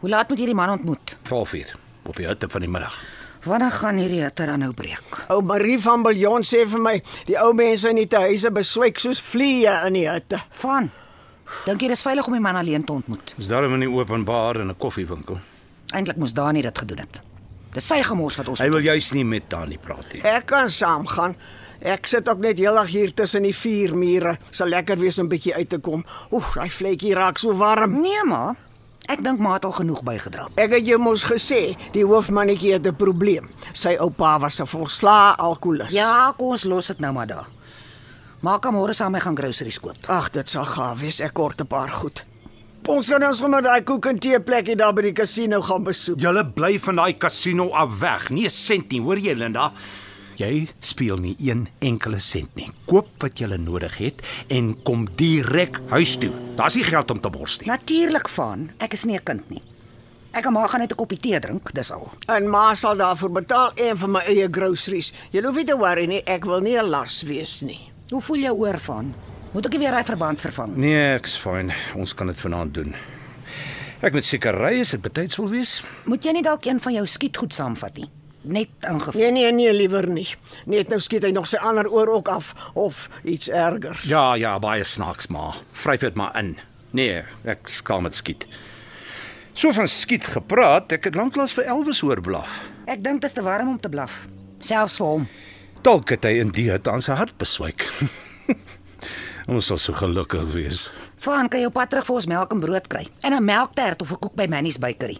Hoe laat moet hierdie man ontmoet? 12uur op die hitte van die middag. Wanneer gaan hierdie hitte dan nou breek? Ou Marie van Biljon sê vir my, die ou mense in die tuise beswyk soos vliee in die hitte. Van. Dink jy dis veilig om die man alleen te ontmoet? Is daarom in die openbaar in 'n koffiewinkel. Eintlik moes Dani dit gedoen het. Dis sy gemors wat ons Hy wil juis nie met Dani praat nie. Ek kan saamgaan. Ek sit ook net heeldag hier tussen die vier mure. Sal lekker wees om 'n bietjie uit te kom. Oef, daai vletjie raak so warm. Nee, ma. Ek dink ma het al genoeg bygedra. Ek het jou mos gesê, die hoofmannetjie het 'n probleem. Sy oupa was 'n volslaa alkolikus. Ja, kom ons los dit nou maar daar. Maak hom môre saam mee gaan groceries koop. Ag, dit sal gaaf wees. Ek kort 'n paar goed. Ons gaan ons sommer daai koek en tee plekkie daar by die kasino gaan besoek. Julle bly van daai kasino af weg. Nie 'n sent nie, hoor jy Linda? Jy speel nie een enkele sent nie. Koop wat jy nodig het en kom direk huis toe. Daar's nie geld om te bors nie. Natuurlik van. Ek is nie 'n kind nie. Ek en ma gaan net 'n koppie tee drink, dis al. En ma sal daarvoor betaal en vir my eie groceries. Jy hoef nie te worry nie, ek wil nie 'n las wees nie. Hoe voel jou oor van? Moet ek nie weer daai verband vervang? Nee, ek's fyn. Ons kan dit vanaand doen. Ek moet seker ry as dit betyds wil wees. Moet jy nie dalk een van jou skietgoed saamvat nie? Net ingeval. Nee nee nee, liewer nie. Net nou skiet hy nog sy ander oor ook af of iets ergers. Ja, ja, baie snaaks maar. Vryf dit maar in. Nee, ek skaam met skiet. So van skiet gepraat, ek het lanklaas vir Elvis hoor blaf. Ek dink dit is te warm om te blaf, selfs vir hom. Dalk het hy in die het aan sy hart beswyk. ons sal so gelukkig wees. Van kan jou pad terug vir ons melk en brood kry en 'n melktert of 'n koek by Manny's Bakery.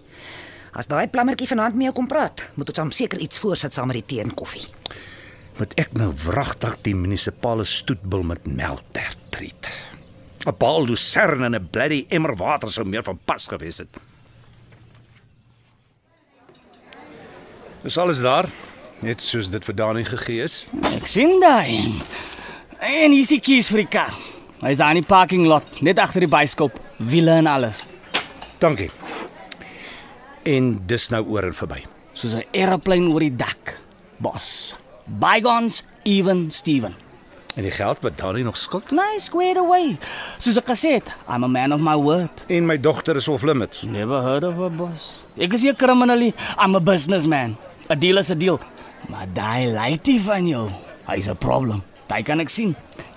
As daai plammetjie vanaand mee kom praat, moet ons hom seker iets voorsit saam met die tee en koffie. Moet ek nou wragtig die munisipale stoetbil met melktert treat. 'n Paal lucerne en 'n bloody emmer water sou meer van pas gewees het. Is alles daar? Net soos dit vir Dani gegee is. Ek sien daai. En hier is die keys vir die kar. Hy's daar in die parking lot, net agter die bicycle, wiele en alles. Dankie. En dis nou oor en verby. Soos 'n aeroplane oor die dak. Bos. Bygones even Steven. En die geld wat Dani nog skuld? Nee, squared away. Soos ek gesê het, I'm a man of my word. En my dogter is off limits. Never heard of her, boss. Ek is nie 'n criminal nie. I'm a businessman. 'n Deal is 'n deal. Maar daai laaitie van jou, hy's 'n problem. Daai kan ek sien.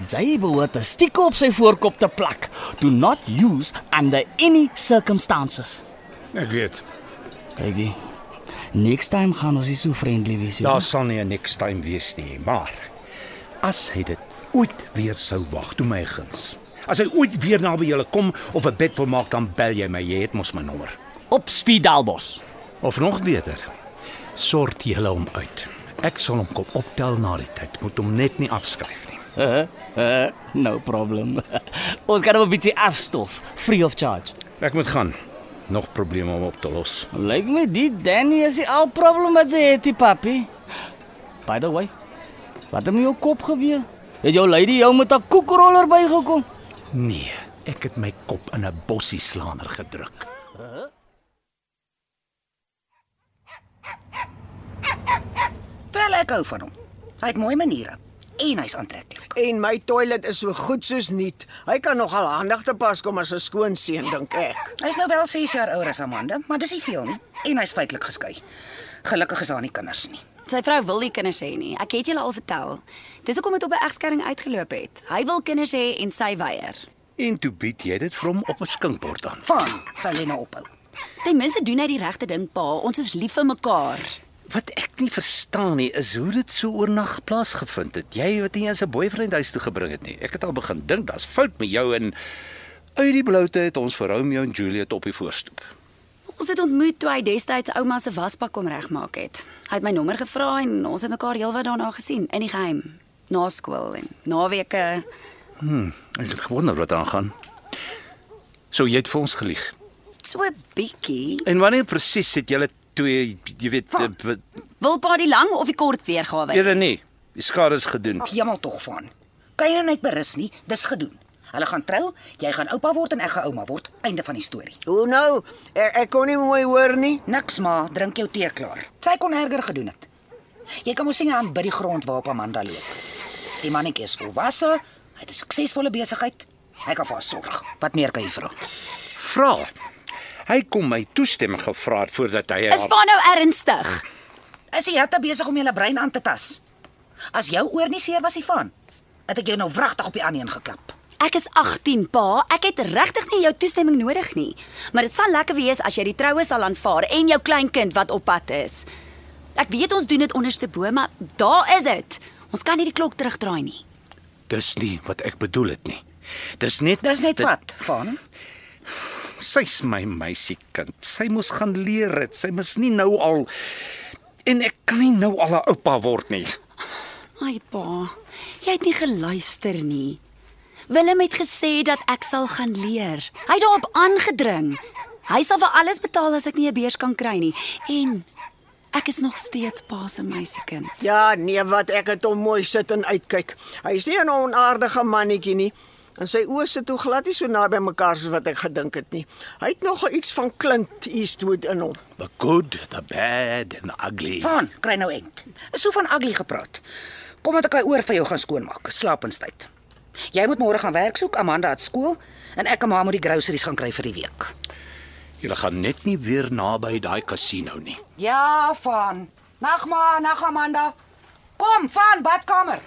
Jy behoort 'n stiek op sy voorkop te plak. Do not use under any circumstances. Ek weet. Kykie. Next time gaan ons nie so vriendelik wees Daar sal nie 'n next time wees nie, maar as hy dit ooit weer sou wag, toe my guns. As hy ooit weer naby julle kom of 'n bed wil maak, dan bel jy my. Jy het mos my nommer. Op speed dial, bos. Of nog beter, sort julle hom uit. Ek sal hom kom optel na die tyd. Moet hom net nie afskryf nie. Uh, uh, no problem. ons kan hom 'n bietjie afstof, free of charge. Ek moet gaan. Nog probleme om op te los. Lyk my die Danny is die al probleem wat jy het, die papi. By the way, wat het met jou kop gebeur? Het jou lady jou met 'n koekroller bygekom? Nee, ek het my kop in 'n bossie slaaner gedruk. Wel ek hou van hom. Hy het mooi maniere. en hy's aantreklik. En my toilet is so goed soos nuut. Hy kan nogal handig te pas kom as 'n skoon seun dink ek. Hy's nou wel 6 jaar ouer as Amanda, maar dis nie veel nie en hy's feitelik geskei. Gelukkig is daar nie kinders nie. Sy vrou wil nie kinders hê nie. Ek het julle al vertel. Dis hoekom dit op 'n egskeiding uitgeloop het. Hy wil kinders hê en sy weier. En toe bied jy dit vir hom op 'n skinkbord aan. Van, sal jy nou ophou. Ten minste doen hy die regte ding, pa. Ons is lief vir mekaar. Wat ek nie verstaan nie is hoe dit so oornag plaasgevind het. Jy wat nie eens 'n boyfriend huis toe gebring het nie. Ek het al begin dink daar's fout met jou en uit die bloute het ons vir Romeo en Juliet op die voorstoep. Ons het ontmoet toe hy destyds ouma se wasbak kom regmaak het. Hy het my nommer gevra en ons het mekaar heelwat daarna gesien in die geheim, na skool en naweke. Hm, ek het gewonder wat aangaan. So jy het vir ons gelieg. So 'n bietjie. En wanneer presies het julle twee, jy weet, eh, wat- Wil pa die lang of die kort weergawe? eerder nie. Die skade is gedoen. Ah. Ag, jemmel tog van. Kan jy nou net berus nie? Dis gedoen. Hulle gaan trou, jy gaan oupa word en ek gaan ouma word. Einde van die storie. Hoe nou? Ek, ek kon nie mooi hoor nie. Niks maar, drink jou tee klaar. Sy kon erger gedoen het. Jy kan mos sien aan by die grond waarop Amanda loop. Die mannetjie is volwasse, hy het 'n suksesvolle besigheid. Hy kan vir haar sorg. Wat meer kan jy vra? Vra. Hy kom my toestemming gevra het voordat Ja. hy Is Pa nou ernstig. Is jy hitte besig om jou brein aan te tas? As jou oor nie seer was hy van, het ek jou nou wragtig op die ander een geklap. Ek is 18, pa. Ek het regtig nie jou toestemming nodig nie. Maar dit sal lekker wees as jy die troue sal aanvaar en jou kleinkind wat op pad is. Ek weet ons doen dit onderste bo, maar daar is dit. Ons kan nie die klok terugdraai nie. Dis nie wat ek bedoel het nie. Dis net Dis net wat, van. Sy's my meisiekind. Sy moes gaan leer dit. Sy moes nie nou al en ek kan nie nou al 'n oupa word nie. Ai pa, jy het nie geluister nie. Willem het gesê dat ek sal gaan leer. Hy het daarop aangedring. Hy sal vir alles betaal as ek nie 'n beurs kan kry nie. En ek is nog steeds pa se meisiekind. Ja, nee, wat ek het hom mooi sit en uitkyk. Hy's nie 'n onaardige mannetjie nie. En sy oë sit toe glad nie so naby mekaar soos wat ek gedink het nie. Hy het nogal iets van Clint Eastwood in hom. The good, the bad and the ugly. Van, kry nou end. Is so van ugly gepraat. Kom dat ek hy oor vir jou gaan skoonmaak. Slaap in tyd. Jy moet môre gaan werk soek, Amanda het skool en ek en ma moet die groceries gaan kry vir die week. Jy gaan net nie weer naby daai casino nie. Ja, van. Nag ma, nag Amanda. Kom, van badkamer.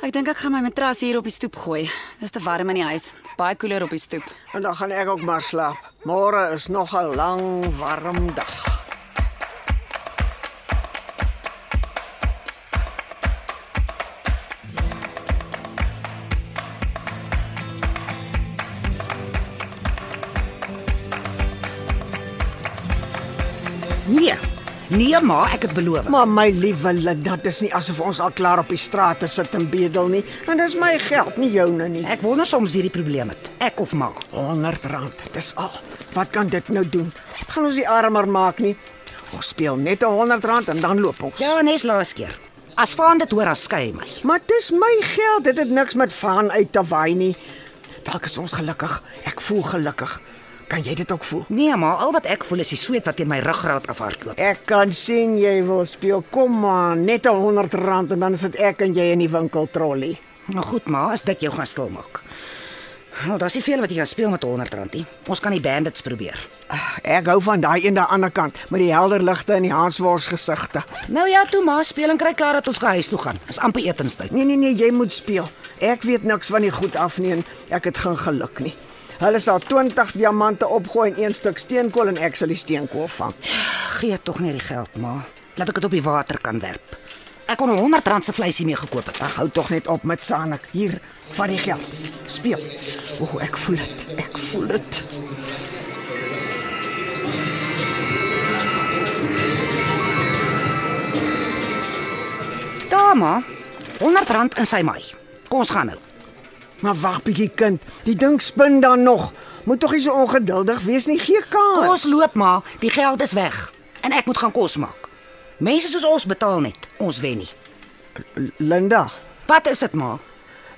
Ek dink ek gaan my matras hier op die stoep gooi. Dis te warm in die huis. Dit's baie koeler op die stoep. En dan gaan ek ook maar slaap. Môre is nog 'n lang, warm dag. Nee. Nee ma, ek het beloof. Maar my liewe Linda, dit is nie asof ons al klaar op die strate sit en bedel nie. En dis my geld, nie joune nie. Ek wonder soms hierdie probleem het. Ek of ma. R100, dis al. Wat kan dit nou doen? Gaan ons die armer maak nie. Ons speel net 'n R100 en dan loop ons. Ja, nes laas keer. As van dit hoor, dan skei my. Maar dis my geld, dit het niks met van uit te waai nie. Dalk is ons gelukkig. Ek voel gelukkig. Kan jy dit ook voel? Nee ma, al wat ek voel is die sweet wat teen my ruggraat afhardloop. Ek kan sien jy wil speel. Kom maar, net 'n R100 en dan sit ek en jy in die winkel trollie. Nou goed, ma, as dit jou gaan stil maak. Nou, daar's nie veel wat jy kan speel met R100 nie. Ons kan die bandits probeer. Ah, Ek hou van daai een daan die ander kant met die helder ligte en die haaswors gesigte. Nou ja, toe maar speel en kry klaar dat ons huis toe gaan. Is amper etenstyd. Nee nee nee, jy moet speel. Ek weet niks van die goed af nie en ek het geen geluk nie. Hulle sal 20 diamante opgooi en een stuk steenkool en ek sal die steenkool vang. Gee tog net die geld, ma. Laat ek dit op die water kan werp. Ek kon 'n R100 se vleisie mee gekoop het. Ag, hou tog net op met Sanik. Hier, vat die geld. Speel. O, ek voel dit. Ek voel dit. Daar, ma. R100 in sy maai. Kom ons gaan nou. Maar wag bietjie kind, die ding spin dan nog. Moet tog nie so ongeduldig wees nie. Gee kans. Kom ons loop, ma. Die geld is weg en ek moet gaan kos maak. Mense soos ons betaal net. Ons wen nie. Linda. Wat is dit, ma?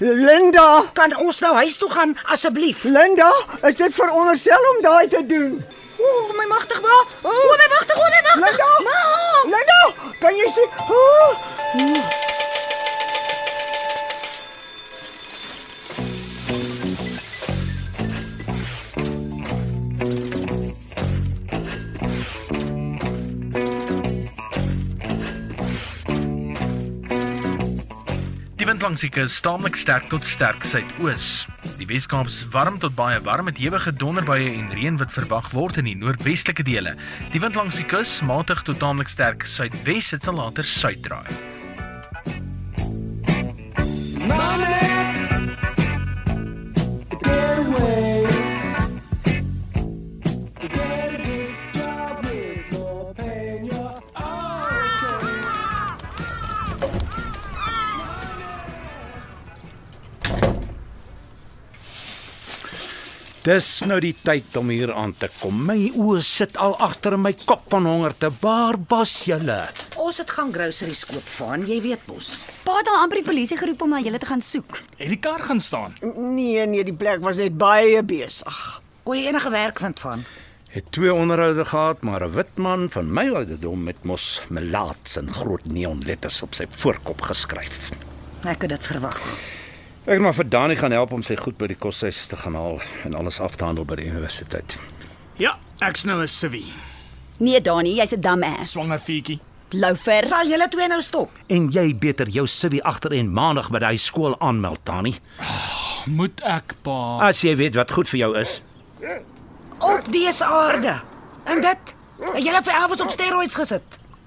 Linda, kan ons nou huis toe gaan asseblief? Linda, is dit veronderstel om daai te doen? O, my magtig ma. O, my magtig, o, my magtig. Linda! Ma! Linda, kan jy sien? Oh! land langs die kus staamlik sterk tot sterk suidoos. Die Wes-Kaap is warm tot baie warm met ewige donderbuie en reën wat verwag word in die noordwestelike dele. Die wind langs die kus matig tot taamlik sterk suidwes, dit sal later suid draai. Dis nou die tyd om hier aan te kom. My oë sit al agter in my kop van honger te. Waar was julle? Ons het gaan groceries koop van, jy weet mos. Pa het al amper die polisie geroep om na julle te gaan soek. Het die kar gaan staan? Nee, nee, die plek was net baie besig. Kon jy enige werk vind van? Het twee onderhoude gehad, maar 'n wit man van my ouderdom met mos melaats en groot neonletters op sy voorkop geskryf. Ek het dit verwag. Ek het maar vir Dani gaan help om sy goed by die koshuis te gaan haal en alles af te handel by die universiteit. Ja, ek's nou 'n civie. Nee, Dani, jy's 'n dumbass. Swanger fietjie. Loufer. Sal julle twee nou stop? En jy beter jou siwie agter en maandag by daai skool aanmeld, Dani. Ah, Moet ek pa? As jy weet wat goed vir jou is. Op dese aarde. En dit, het julle vir Elvis op steroids gesit.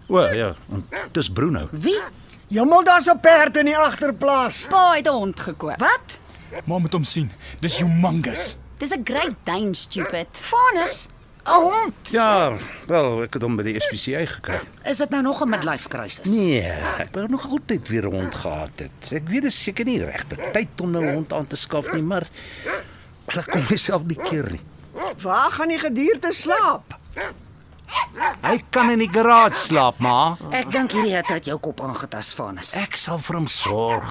O ja, en dis Bruno. Wie? Jemmel, daar's 'n perd in die agterplaas. Pa het 'n hond gekoop. Wat? Ma moet hom sien. Dis humongous. Dis 'n great dane stupid. Vanus, 'n hond. Ja, wel, ek het hom by die SPCA gekry. Is dit nou nog 'n midlife crisis? Nee, ek het nog altyd weer 'n hond gehad het. Ek weet dis seker nie die regte tyd om nou 'n hond aan te skaf nie, maar hulle kom myself nie keer nie. Waar gaan die gedierte slaap? Hy kan in die garage slaap, ma. Ek dink hierdie het uit jou kop aangetas, Vanus. Ek sal vir hom sorg.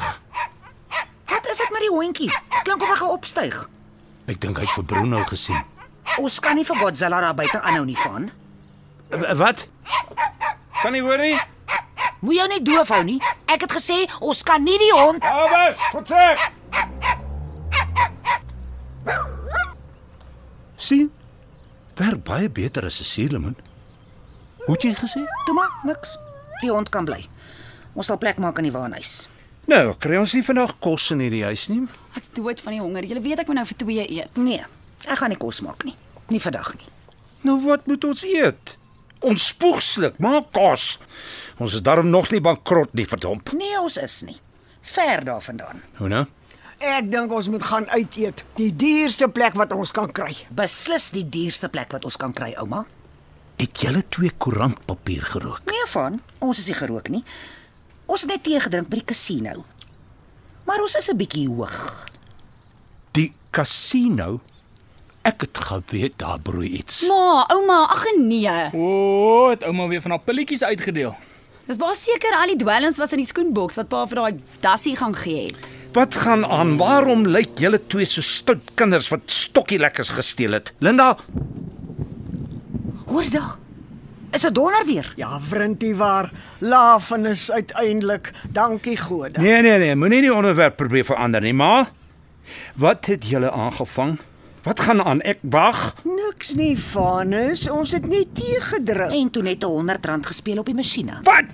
Wat is dit met die hondjie? Klink of hy gaan opstyg. Ek dink hy het vir Bruno gesien. Ons kan nie vir Godzilla daar buite aanhou nie van. W wat? Kan nie hoor nie. Moet jou nie doof hou nie. Ek het gesê ons kan nie die hond. Abas, wat sê? Sien? Werk baie beter as 'n suurlemoen. Hoe het jy gesê? Toe maar niks. Die hond kan bly. Ons sal plek maak in die waanhuis. Nou, kry ons nie vandag kos in hierdie huis nie. Ek's dood van die honger. Julle weet ek moet nou vir 2 eet. Nee, ek gaan nie kos maak nie. Nie vandag nie. Nou wat moet ons eet? Ons spoegslik, maak kos. Ons is darm nog nie bankrot nie, verdomp. Nee, ons is nie. Ver daarvandaan. Hoe nou? Ek dink ons moet gaan uit eet. Die duurste plek wat ons kan kry. Beslis die duurste plek wat ons kan kry, ouma. Het julle twee koerantpapier gerook? Nee van, ons is nie gerook nie. Ons het net tee gedrink by die casino. Maar ons is 'n bietjie hoog. Die casino. Ek het geweet daar broei iets. Ma, ouma, ag nee. O, het ouma weer van haar pilletjies uitgedeel. Dis baie seker al die dwelms was in die skoenboks wat pa vir daai dassie gaan gee het. Wat gaan aan? Waarom lyk julle twee so stout kinders wat stokkie lekkers gesteel het? Linda, Hoor da. Is dit donder weer? Ja, vrintie waar. Lafenis uiteindelik. Dankie God. Nee nee nee, moenie die onderwerp probeer verander nie, maar wat het julle aangevang? Wat gaan aan? Ek wag. Niks nie, Vanus. Ons het net tee gedrink. En toe net 'n R100 gespeel op die masjiene. Wat?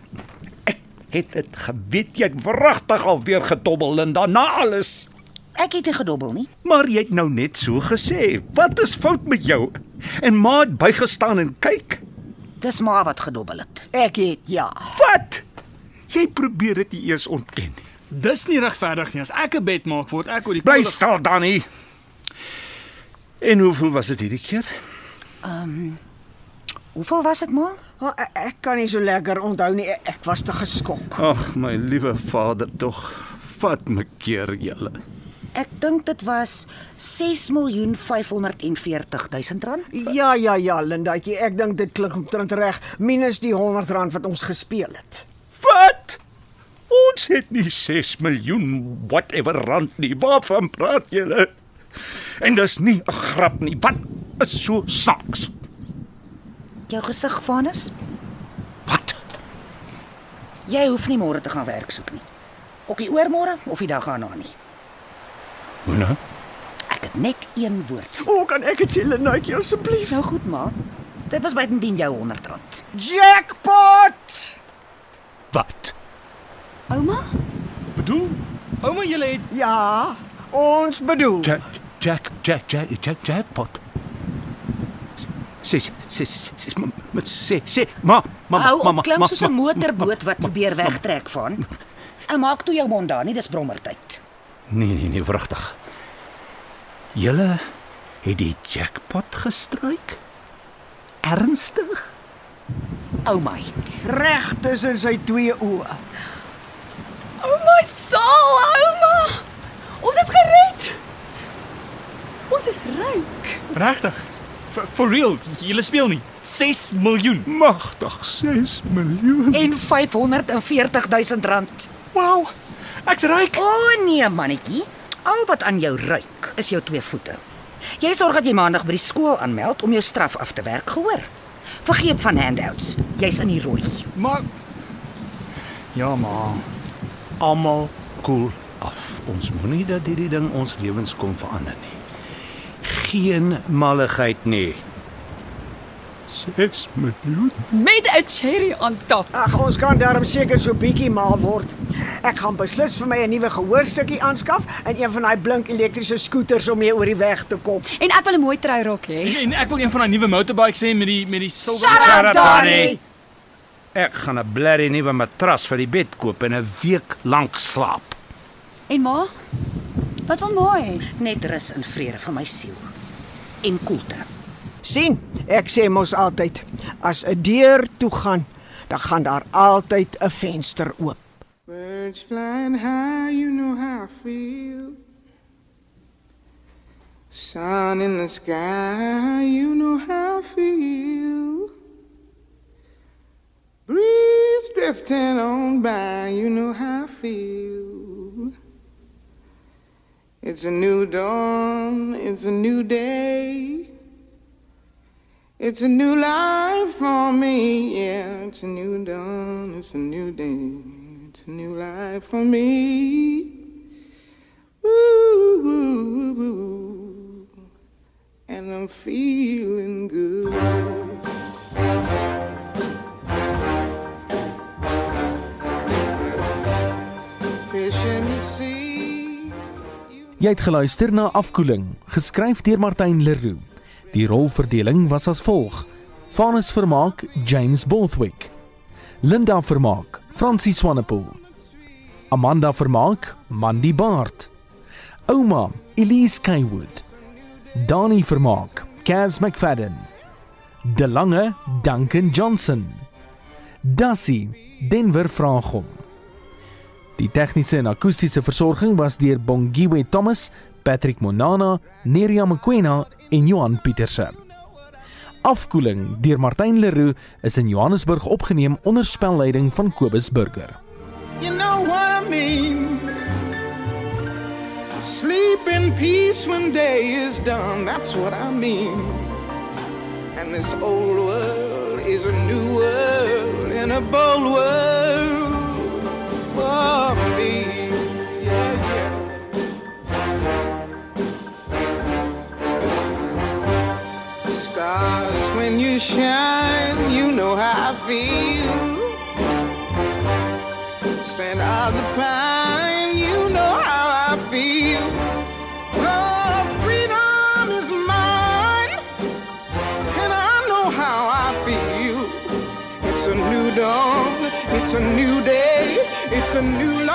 Ek het dit geweet jy het wragtig alweer gedobbel Linda na alles. Ek het nie gedobbel nie. Maar jy het nou net so gesê. Wat is fout met jou? En ma het bygestaan en kyk. Dis maar wat gedobbel het. Ek het ja. Wat? Jy probeer dit nie eers ontken nie. Dis nie regverdig nie. As ek 'n bet maak, word ek oor die Bly stil dan nie. En hoeveel was dit hierdie keer? Ehm um, Hoeveel was dit maar? Maar e- Ek kan nie so lekker onthou nie. E- Ek was te geskok. Ag my liewe vader tog. Vat my keer julle. Ek dink dit was 6 miljoen 540 000 rand. Ja, ja, ja, Lindaatjie, ek dink dit klink omtrent reg, minus die R100 wat ons gespeel het. Wat? Ons het nie 6 miljoen whatever rand nie. Waarvan praat julle? En dis nie 'n grap nie. Wat is so saaks? Jou gesig, Vanus? Wat? Jy hoef nie môre te gaan werk soek nie. Ook nie oormôre of die dag daarna nie. Hoe nou? Ek het net een woord. O, kan ek dit sê, Lindaatjie, asseblief? Nou goed, ma. Dit was buitendien jou R100. Jackpot! Wat? Ouma? Bedoel, Ouma, julle het Ja, ons bedoel. Ja, Jack, Jack, Jack, Jack, Jack, jackpot. Sis, sis, sis, ma, ma- sê, sê, ma, ma, Hou ma, ma, op, klim ma, soos ma, 'n motorboot wat probeer wegtrek van. En maak toe jou mond daar, nie dis brommertyd. Nee, nee, nee, wragtig. Julle het die jackpot gestryk? Ernstig? Ou meid. Reg tussen sy twee oë. Ouma Saal, ouma. Ons is gered. Ons is ryk. regtig for, for real, julle speel nie. 6 miljoen. Magtig 6 miljoen. En 540000 rand. Wow. Ek's ryk. O oh, nee, mannetjie. Al wat aan jou ruik is jou twee voete. Jy sorg dat jy maandag by die skool aanmeld om jou straf af te werk, gehoor? Vergeet van handouts. Jy's in die rooi. Maar Ja, ma. Almal koel af. Ons moenie dat hierdie ding ons lewens kom verander nie. Geen malligheid nie. 6 miljoen. Met 'n cherry aan top. Ag, ons kan daarom seker so bietjie mal word. Ek gaan beslis vir my 'n nuwe gehoorstukkie aanskaf en een van daai blink elektriese skooters om mee oor die weg te kom. En ek wil 'n mooi trouwrok hê. Nee. En, en ek wil een van daai nuwe motorbikes hê met die met die silwer Shut up, Donnie! Ek gaan 'n blerrie nuwe matras vir die bed koop en 'n week lank slaap. En ma? Wat wil ma hê? Net rus en vrede vir my siel. En koelte. sien? Ek sê mos altyd, as 'n deur toe gaan, dan gaan daar altyd 'n venster oop. Birds flying high, you know how I feel. Sun in the sky, you know how I feel. Breeze drifting on by, you know how I feel. It's a new dawn, it's a new day. It's a new life for me, yeah. It's a new dawn, it's a new day. It's a new life for me. Ooh, ooh, ooh. and I'm feeling good. Fish in the sea. Jy het geluister na Afkoeling, geskryf deur Martin Leroux. Die rolverdeling was as volg: Vanus Vermaak, James Bothwick. Linda Vermaak, Francie Swanepoel. Amanda Vermaak, Mandy Baard. Ouma, Elise Kaywood. Dani Vermaak, Kaz McFadden. De Lange, Duncan Johnson. Dassie, Denver Vraagom. Die tegniese en akoestiese versorging was deur Bongiwe Thomas, Patrick Monana, Neriya Mkwena en Johan Pieterse. Afkoeling deur Martin Leroux is in Johannesburg opgeneem onder spelleiding van Kobus Burger. You know what I mean? Sleep in peace when day is done, that's what I mean. And this old world is a new world and a bold world for me. Yeah, yeah. Stars, when you shine, you know how I feel. Scent of the pine, you know how I feel. Oh, freedom is mine, and I know how I feel. It's a new dawn, it's a new day, it's a new